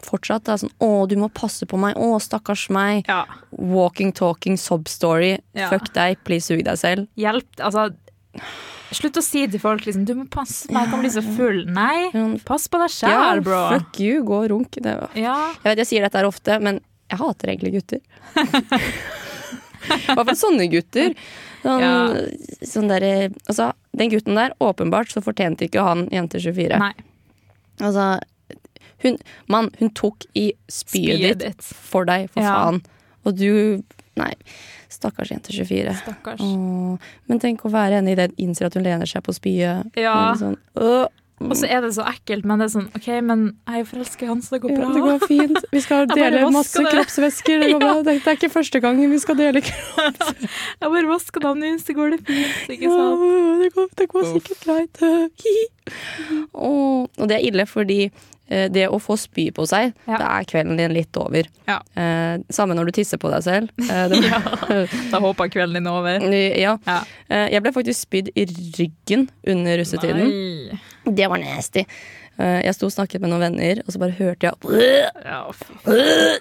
A: fortsatt det er sånn Å, du må passe på meg. Å, stakkars meg.
D: Ja.
A: Walking, talking, sob story.
D: Ja.
A: Fuck deg, please sug deg selv.
D: Hjelp Altså, slutt å si til folk liksom 'du må passe på meg, jeg kan bli så full'. Nei,
A: Sånn,
D: pass på deg sjæl, bro.
A: fuck you, gå og runk. Det, var-
D: Ja,
A: jeg vet jeg sier dette her ofte, men jeg hater egentlig gutter. I hvert fall sånne gutter. Sånn, sånn derre- altså, den gutten der, åpenbart så fortjente ikke han jente 24.
D: nei.
A: Altså, hun, mann, hun tok i spyet ditt
D: Spyet ditt.
A: for deg, for
D: Ja.
A: faen. Og du Nei, stakkars jente 24.
D: Stakkars.
A: Mm. Åh, men tenk å være henne i det, innser at hun lener seg på spyet.
D: Ja.
A: Og Sånn, «Åh,
D: Og så er det så ekkelt, men det er sånn OK, men jeg er jo forelska i han, så det går
A: ja, det
D: bra.
A: går fint. Vi skal
D: Jeg bare
A: dele
D: vasker
A: masse
D: det.
A: kroppsvæsker. Det, går bra. det, det er ikke første gangen vi skal dele kropp.
D: Jeg bare vasker det av nå, så går det fint. Ikke sant?
A: Åh, Det går, det går sikkert greit. Hihi. Åh, Og det er ille, fordi eh, det å få spy på seg,
D: Ja.
A: da er kvelden din litt over.
D: Ja.
A: Eh, samme når du tisser på deg selv. Eh, det,
D: Da håper jeg kvelden din er over.
A: ja.
D: Ja.
A: Eh, Jeg ble faktisk spydd i ryggen under russetiden.
D: Nei.
A: Det var nasty. Eh, Jeg sto og snakket med noen venner, og så bare hørte jeg
D: Ja, fy.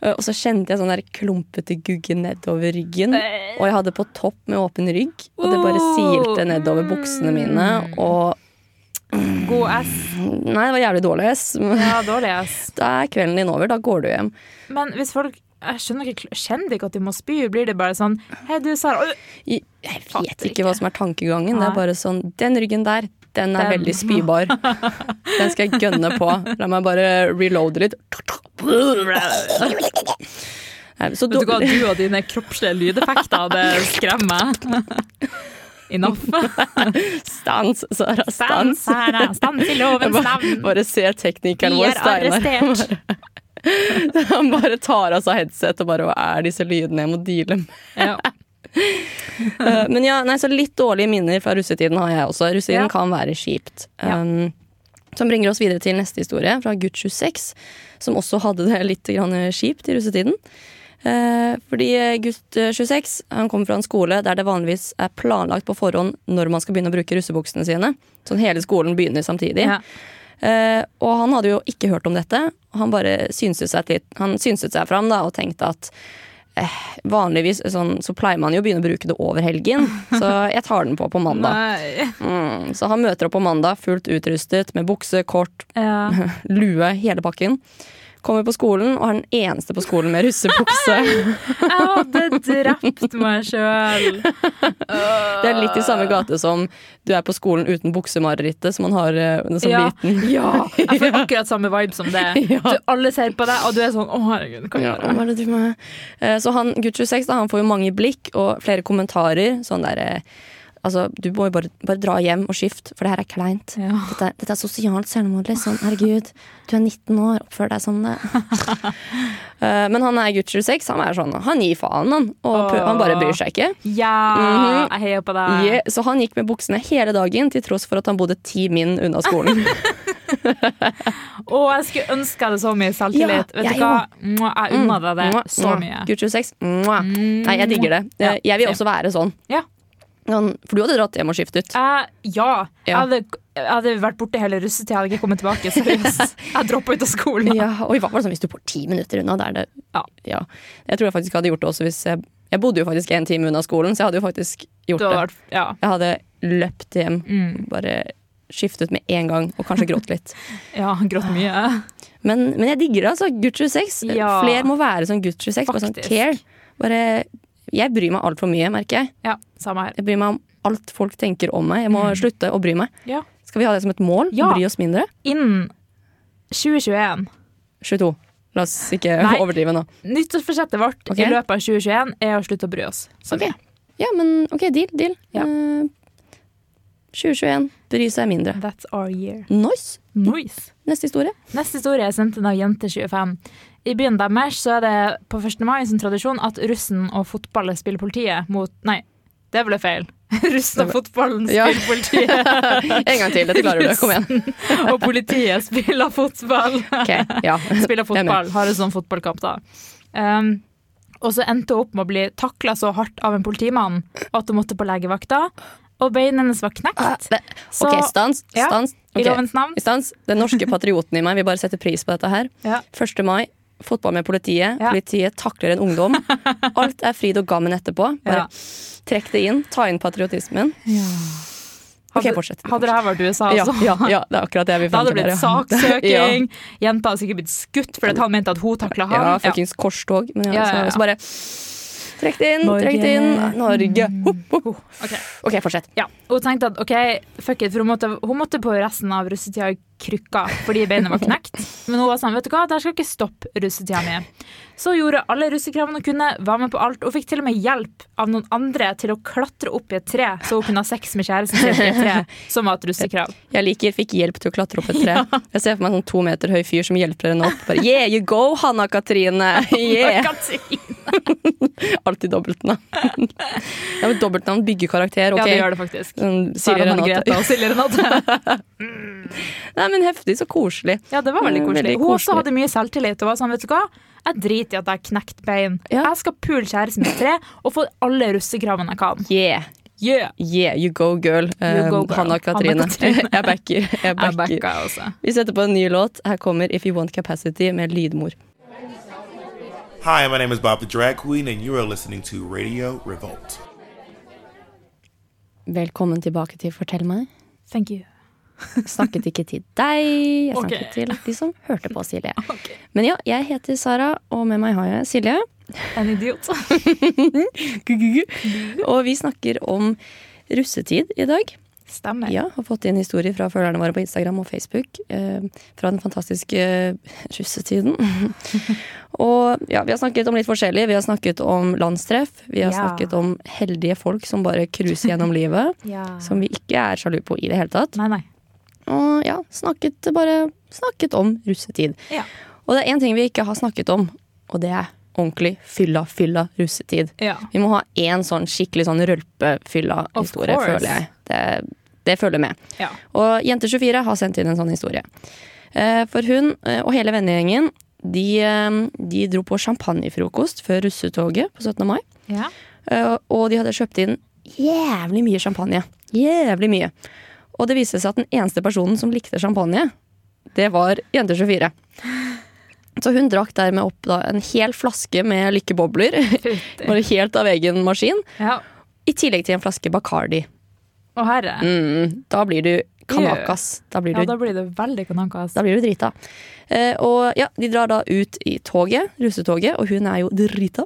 A: Eh, Og så kjente jeg sånn der klumpete gugge nedover ryggen. Og jeg hadde på topp med åpen rygg, og det bare silte nedover buksene mine. Og
D: God ass.
A: Nei, det var jævlig dårlig. ass.
D: Ja, dårlig ass.
A: Da er kvelden din over. Da går du hjem.
D: Men hvis folk jeg skjønner ikke, kjenner de ikke at de må spy, blir det bare sånn Hei, du, Sara. øh,
A: Jeg jeg vet
D: Fatter
A: ikke hva som er tankegangen. Det
D: Nei.
A: er bare sånn Den ryggen der, den er
D: Den.
A: veldig spybar. Den skal jeg gønne på. La meg bare reloade litt. Nei, så
D: Vet du hva,
A: dårlig-
D: du og dine kroppslige lydeffekter, det skremmer meg. Enough.
A: Stans, Sara.
D: Stans,
A: Stans.
D: Sara. Stans i lovens
A: Bare,
D: navn.
A: bare se teknikeren
D: Vi
A: vår,
D: er arrestert.
A: Steinar. Han bare tar av seg headset og bare Hva er disse lydene jeg må deale med?
D: Ja.
A: Eh, Men ja, nei, så litt dårlige minner fra russetiden har jeg også. Russetiden
D: Ja.
A: kan være kjipt.
D: Ja.
A: Um, som bringer oss videre til neste historie, fra gutt 26, som også hadde det litt grann kjipt i russetiden. Eh, fordi gutt eh, 26 han kommer fra en skole der det vanligvis er planlagt på forhånd når man skal begynne å bruke russebuksene sine. Sånn hele skolen begynner samtidig.
D: Ja.
A: Eh, og han hadde jo ikke hørt om dette. og Han bare synset seg, litt, han synset seg fram da, og tenkte at eh, vanligvis sånn, så pleier man jo å begynne å bruke det over helgen, så jeg tar den på på mandag.
D: Nei.
A: Mm, så han møter opp på mandag fullt utrustet med bukse, kort,
D: Ja.
A: lue, hele pakken. Kommer på skolen og er den eneste på skolen med russebukse.
D: Jeg hadde drept meg sjøl.
A: Det er litt i samme gate som du er på skolen uten buksemarerittet som man har eh, som
D: Ja.
A: liten.
D: Ja. Jeg får akkurat samme vibe som det.
A: Ja.
D: Du, alle ser på deg, og du er sånn Å, herregud, hva
A: Ja,
D: gjør
A: hva
D: jeg?
A: er det du driver med? Eh, Så han, gutt 26 da, han får jo mange blikk og flere kommentarer. Sånn der, eh, altså, du må jo bare, bare dra hjem og skift, for det her er kleint.
D: Ja.
A: Dette, er- dette er sosialt selvmord. Liksom. Herregud, du er 19 år, oppfør deg som det. Eh, Men han er gutt 26, han er sånn, han gir faen, han. Og prø- han bare bryr seg ikke.
D: Ja,
A: Mhm.
D: jeg heier på deg.
A: Je- Så han gikk med buksene hele dagen, til tross for at han bodde ti min unna skolen.
D: Å, jeg skulle ønske jeg hadde så mye selvtillit.
A: Ja,
D: Vet
A: jeg
D: du hva? Mwah, Jeg unner deg det
A: Mwah,
D: så
A: mwah.
D: mye. Mm.
A: Gutt 26, mwah. Nei, jeg digger det.
D: Ja,
A: Eh, Jeg vil
D: same.
A: også være sånn.
D: Ja.
A: Sånn, For du hadde dratt hjem og skiftet.
D: Jeg- Eh, ja. Jeg
A: Ja.
D: hadde, jeg hadde vært borte hele russetida, jeg hadde ikke kommet tilbake. Seriøst. Jeg droppa ut av skolen.
A: Ja, og i hvert fall sånn hvis du bor ti minutter unna. Der det,
D: Ja.
A: Jeg tror jeg faktisk hadde gjort det også hvis jeg Jeg bodde jo faktisk en time unna skolen, så jeg hadde jo faktisk gjort
D: Du hadde
A: det.
D: vært, ja.
A: Jeg hadde løpt hjem,
D: Mm.
A: bare skiftet med en gang, og kanskje grått litt.
D: ja, grått mye.
A: Men, men jeg digger det, altså. Gutt 26.
D: Ja.
A: Flere må være som gutt 26. Bare sånn
D: Faktisk.
A: care. Bare, jeg bryr meg altfor mye, merker jeg.
D: Ja, samme her.
A: Jeg bryr meg om alt folk tenker om meg. Jeg må slutte å bry meg.
D: Mm. Ja.
A: Skal vi ha det som et mål?
D: Ja.
A: Bry oss mindre?
D: Innen 2021
A: 22. La oss ikke
D: Nei.
A: overdrive nå.
D: Nyttårsforsettet vårt
A: Ok.
D: i løpet av 2021 er å slutte å bry oss. Så
A: Ok. Ja, men ok, deal, deal.
D: Ja.
A: Eh, 2021, bry seg mindre.
D: That's our year.
A: Nice!
D: Nice.
A: Neste historie.
D: Neste historie er sendt inn av Jente25. I byen deres så er det på 1. mai sin tradisjon at russen og fotballen spiller politiet mot Nei, det ble feil. Russen og fotballen
A: Ja.
D: spiller politiet,
A: En gang til, dette klarer du. Kom igjen.
D: og politiet spiller fotball.
A: Ok, ja.
D: Spiller
A: Jeg er med.
D: fotball, har en sånn fotballkamp, da. Eh, Um, og så endte hun opp med å bli takla så hardt av en politimann at hun måtte på legevakta. Og beinet hennes var knekt.
A: Det-
D: Så
A: Ah, Eh, OK, stans.
D: ja,
A: stans.
D: i
A: ok.
D: lovens navn.
A: Stans. Den norske patrioten i meg vil bare sette pris på dette her.
D: Ja.
A: 1. mai, fotball med politiet.
D: Ja.
A: Politiet takler en ungdom. Alt er fryd og gammen etterpå. Bare
D: Ja.
A: trekk det inn. Ta inn patriotismen. OK,
D: Hadde-
A: fortsett.
D: Hadde det her vært USA,
A: ja,
D: altså.
A: ja, ja, det er akkurat det jeg vil
D: Da
A: fram
D: hadde
A: til.
D: det blitt
A: der, ja.
D: saksøking. Jenta hadde sikkert blitt skutt fordi at han mente at hun takla
A: Ja,
D: han.
A: ja fuckings korstog. Men ja,
D: Ja, ja, ja.
A: Så, så bare trekk det inn, trekk det inn. Norge. Ho, ho, ho.
D: Mm. Ok.
A: OK, fortsett.
D: Ja, og hun tenkte at ok, fuck it, for hun måtte, hun måtte på resten av russetida i krykka fordi beinet var knekt. Men hun var sånn, vet du hva, det her skal ikke stoppe russetida mi. Så gjorde alle russekravene hun kunne, var med på alt, og fikk til og med hjelp av noen andre til å klatre opp i et tre, så hun kunne ha sex med kjæresten sin i et tre, som var et russekrav.
A: Jeg liker fikk hjelp til å klatre opp et tre. Jeg ser for meg en sånn to meter høy fyr som hjelper henne opp. Bare, yeah, you go, Hanna Katrine!
D: Oh
A: Yeah. Alltid dobbeltnavn. ja, men dobbeltnavn bygger karakter.
D: Ja,
A: ok.
D: det gjør det faktisk.
A: Sånn, Silje
D: Sara Margrethe
A: Renate.
D: og Silje Renate.
A: Nei, men heftig, så koselig.
D: Ja, det var veldig
A: Mm,
D: koselig.
A: veldig
D: Hun også
A: koselig.
D: hadde mye selvtillit og var sånn, vet du hva, jeg driter i at jeg har knekt bein.
A: Ja.
D: Jeg skal pule kjæresten min i et tre og få alle russekravene jeg kan.
A: Yeah,
D: Yeah!
A: yeah, you go girl. Eh,
D: go, girl.
A: Hanna Katrine.
D: Hanna Katrine.
A: jeg backer. Jeg
D: Jeg altså.
A: backer.
D: backa også.
A: Vi setter på en ny låt. Her kommer If You Want Capacity med Lydmor.
F: Hi, my name is Bob the Drag Queen, and you are listening to Radio Revolt.
A: Velkommen tilbake til Fortell meg.
D: Thank you.
A: Snakket ikke til deg, jeg
D: Ok.
A: snakket til de som hørte på, Silje. Men ja, jeg heter Sara, og med meg har jeg Silje.
D: En idiot.
A: Og vi snakker om russetid i dag.
D: Stemmer.
A: Ja, Har fått inn historier fra følgerne våre på Instagram og Facebook eh, fra den fantastiske eh, russetiden. og ja, vi har snakket om litt forskjellig. Vi har snakket om landstreff. Vi har
D: Ja.
A: snakket om heldige folk som bare cruiser gjennom livet. Som vi ikke er sjalu på i det hele tatt.
D: Nei, nei.
A: Og ja, snakket bare snakket om russetid.
D: Ja.
A: Og det er én ting vi ikke har snakket om, og det er ordentlig fylla, fylla russetid.
D: Ja.
A: Vi må ha én sånn skikkelig sånn
D: Of
A: rølpefylla-historie,
D: course.
A: føler jeg. Det, det følger med.
D: Ja.
A: Og Jente24 har sendt inn en sånn historie. Eh, For hun eh, og hele vennegjengen de, eh, de dro på champagnefrokost før russetoget på 17. mai.
D: Ja.
A: Eh, Og de hadde kjøpt inn jævlig mye champagne. Jævlig mye. Og det viste seg at den eneste personen som likte champagne, det var jente 24. Så hun drakk dermed opp da, en hel flaske med lykkebobler.
D: Fytti.
A: Bare helt av egen maskin.
D: ja.
A: I tillegg til en flaske Bacardi.
D: Å, herre.
A: Mm, da blir du kanakas. Da blir
D: Ja,
A: du
D: da blir det veldig kanakas.
A: da blir du drita. Eh, og ja, De drar da ut i toget, russetoget, og hun er jo drita.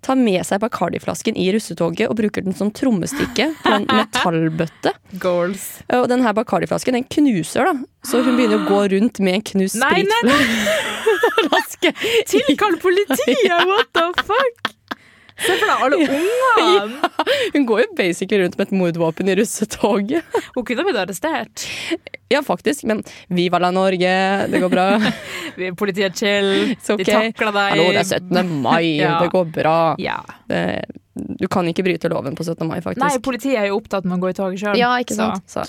A: Tar med seg Bacardi-flasken i russetoget og bruker den som trommestikke på en metallbøtte.
D: Goals.
A: Eh, Og den her Bacardi-flasken den knuser, da. Så hun begynner å gå rundt med en knust
D: Nei, nei,
A: spritflaske.
D: nei! Tilkall politiet! What the fuck? Se for deg alle ungene!
A: Hun går jo basically rundt med et mordvåpen i russetoget.
D: Hun kunne blitt arrestert.
A: Ja, faktisk, men Viva la Norge, det går bra.
D: Vi- Politiet er chill.
A: It's ok.
D: De takla deg.
A: Hallo, det er 17. mai,
D: Ja.
A: det går bra.
D: Ja.
A: Eh, Du kan ikke bryte loven på 17. mai, faktisk.
D: Nei, politiet er jo opptatt med å gå i toget sjøl.
A: Ja, ikke sant? Så.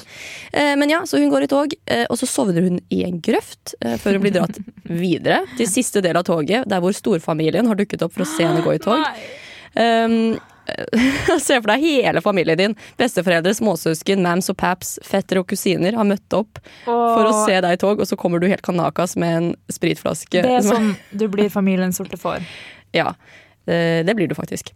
A: Eh, men ja, så hun går i tog, eh, og så sovner hun i en grøft eh, før hun blir dratt videre til siste del av toget, der hvor storfamilien har dukket opp for å se henne gå i tog. Um, Se for deg hele familien din. Besteforeldre, småsøsken, mams og paps, fettere og kusiner har møtt opp for å se deg i tog, og så kommer du helt kanakas med en spritflaske.
D: Det er sånn du blir familien sorte får.
A: Ja, eh, det blir du faktisk.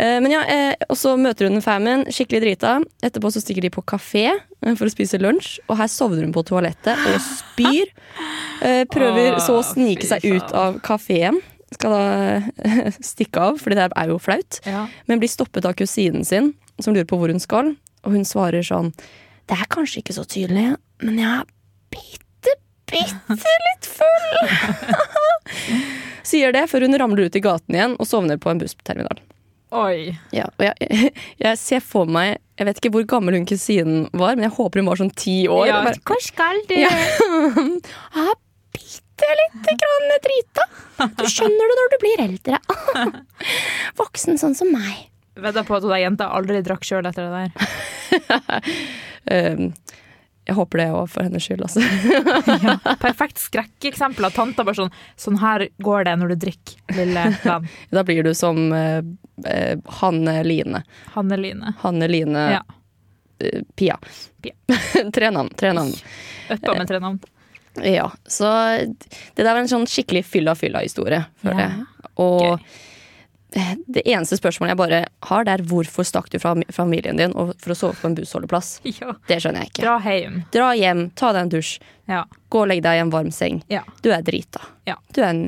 A: Eh, Men ja, eh, og så møter hun famen, skikkelig drita. Etterpå så stikker de på kafé eh, for å spise lunsj, og her sovner hun på toalettet og spyr. Eh, Prøver
D: Åh,
A: så å snike
D: fy
A: seg ut
D: faen.
A: av kafeen. Skal da eh, stikke av, for det der er jo flaut.
D: Ja.
A: Men blir stoppet av kusinen sin, som lurer på hvor hun skal. Og hun svarer sånn Det er kanskje ikke så tydelig, men jeg er bitte, bitte litt full. Sier det før hun ramler ut i gaten igjen og sovner på en bussterminal.
D: Oi.
A: Ja, og jeg, jeg ser for meg Jeg vet ikke hvor gammel hun kusinen var, men jeg håper hun var sånn ti år.
D: Ja,
A: og bare,
D: Hvor skal du?
A: jeg er bitte lite grann drita. Du skjønner det når du blir eldre. Voksen sånn som meg.
D: Vedder på at hun der jenta aldri drakk sjøl etter det der.
A: Eh, Jeg håper det òg, for hennes skyld. Altså.
D: Ja. Perfekt skrekkeksempel av tanta bare sånn Sånn her går det når du drikker, lille venn.
A: Da blir du som eh, eh, Hanne Line.
D: Hanne Line.
A: Hanne Line
D: Ja.
A: eh, Pia.
D: Pia.
A: tre navn. Tre navn.
D: Uppa med tre navn.
A: Ja, så det der var en sånn skikkelig fylla-fylla-historie, føler
D: Ja,
A: jeg. Og det eneste spørsmålet jeg bare har, det er hvorfor stakk du fra fra familien din og for å sove på en bussholdeplass?
D: Ja.
A: Det skjønner jeg ikke.
D: Dra hjem.
A: Dra hjem, ta deg en dusj,
D: Ja.
A: gå og legg deg i en varm seng.
D: Ja.
A: Du er drita.
D: Ja.
A: Du er en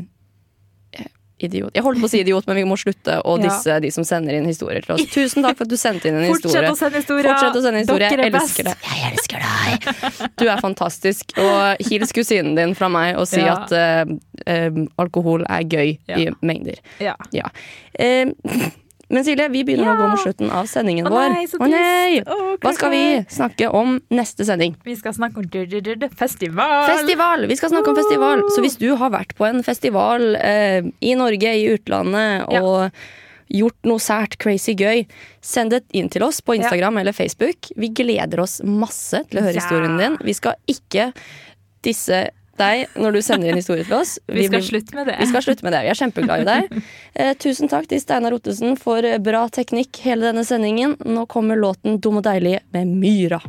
A: eh, idiot. Jeg holdt på å si idiot, men vi må slutte å
D: Ja.
A: disse de som sender inn historier til oss. Tusen takk for at du sendte inn en
D: Fortsett
A: historie.
D: å sende historier.
A: Fortsett å sende historier.
D: Dere
A: Jeg
D: er best.
A: elsker deg. Jeg elsker deg. Du er fantastisk. Og hils kusinen din fra meg og si
D: Ja.
A: at eh, eh, alkohol er gøy
D: Ja.
A: i mengder.
D: Ja.
A: Ja. Eh, men Silje, vi begynner å
D: Ja.
A: gå mot slutten av sendingen
D: Å
A: vår.
D: nei, så
A: Å nei!
D: trist. Å,
A: Hva skal vi
D: klart.
A: snakke om neste sending?
D: Vi skal snakke om du-du-du-du festival.
A: Festival! Vi skal snakke om festival. Så hvis du har vært på en festival eh, i Norge, i utlandet,
D: Ja.
A: og gjort noe sært, crazy gøy, send det inn til oss på Instagram eller Facebook. Vi gleder oss masse til å høre
D: Ja.
A: historien din. Vi skal ikke disse deg når du sender inn historie til oss.
D: Vi skal
A: blir-
D: slutte med det.
A: vi skal slutte med det. Vi er kjempeglade i deg. Eh, tusen takk til Steinar Ottesen for
D: Uh.
A: eh, bra teknikk hele denne sendingen. Nå kommer låten 'Dum og deilig' med Myra.